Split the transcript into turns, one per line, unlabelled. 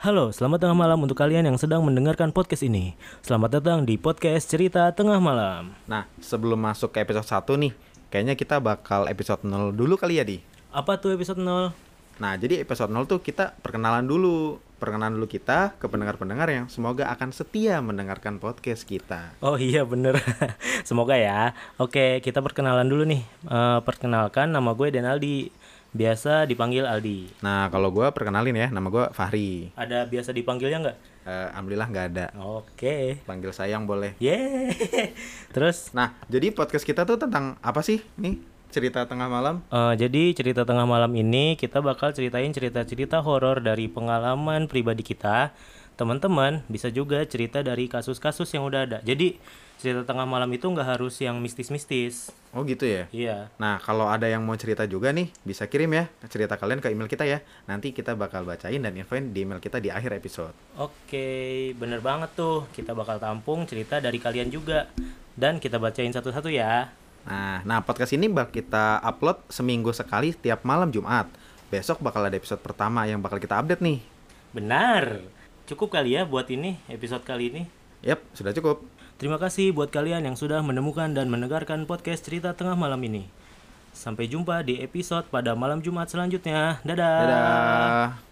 Halo, selamat tengah malam untuk kalian yang sedang mendengarkan podcast ini. Selamat datang di podcast Cerita Tengah Malam.
Nah, sebelum masuk ke episode 1 nih, kayaknya kita bakal episode 0 dulu kali ya, Di.
Apa tuh episode 0?
Nah, jadi episode 0 tuh kita perkenalan dulu. Perkenalan dulu kita ke pendengar-pendengar yang semoga akan setia mendengarkan podcast kita.
Oh iya bener, semoga ya. Oke, kita perkenalan dulu nih. Eh, perkenalkan, nama gue Denaldi. Biasa dipanggil Aldi.
Nah, kalau gue perkenalin ya, nama gue Fahri.
Ada biasa dipanggilnya nggak?
Eh, Alhamdulillah nggak ada.
Oke.
Panggil sayang boleh.
Yeay. Terus,
Nah, jadi podcast kita tuh tentang apa sih nih? Cerita tengah malam?
eh, jadi cerita tengah malam ini kita bakal ceritain cerita-cerita horor dari pengalaman pribadi kita. Teman-teman bisa juga cerita dari kasus-kasus yang udah ada. Jadi cerita tengah malam itu nggak harus yang mistis-mistis.
Oh gitu ya?
Iya.
Nah, kalau ada yang mau cerita juga nih, bisa kirim ya cerita kalian ke email kita ya. Nanti kita bakal bacain dan infoin di email kita di akhir episode.
Oke, bener banget tuh. Kita bakal tampung cerita dari kalian juga. Dan kita bacain satu-satu ya.
Nah, nah podcast ini bakal kita upload seminggu sekali tiap malam Jumat. Besok bakal ada episode pertama yang bakal kita update nih.
Benar. Cukup kali ya buat ini, episode kali ini.
Yap, sudah cukup.
Terima kasih buat kalian yang sudah menemukan dan mendengarkan podcast cerita tengah malam ini. Sampai jumpa di episode pada malam Jumat selanjutnya. Dadah.
Dadah.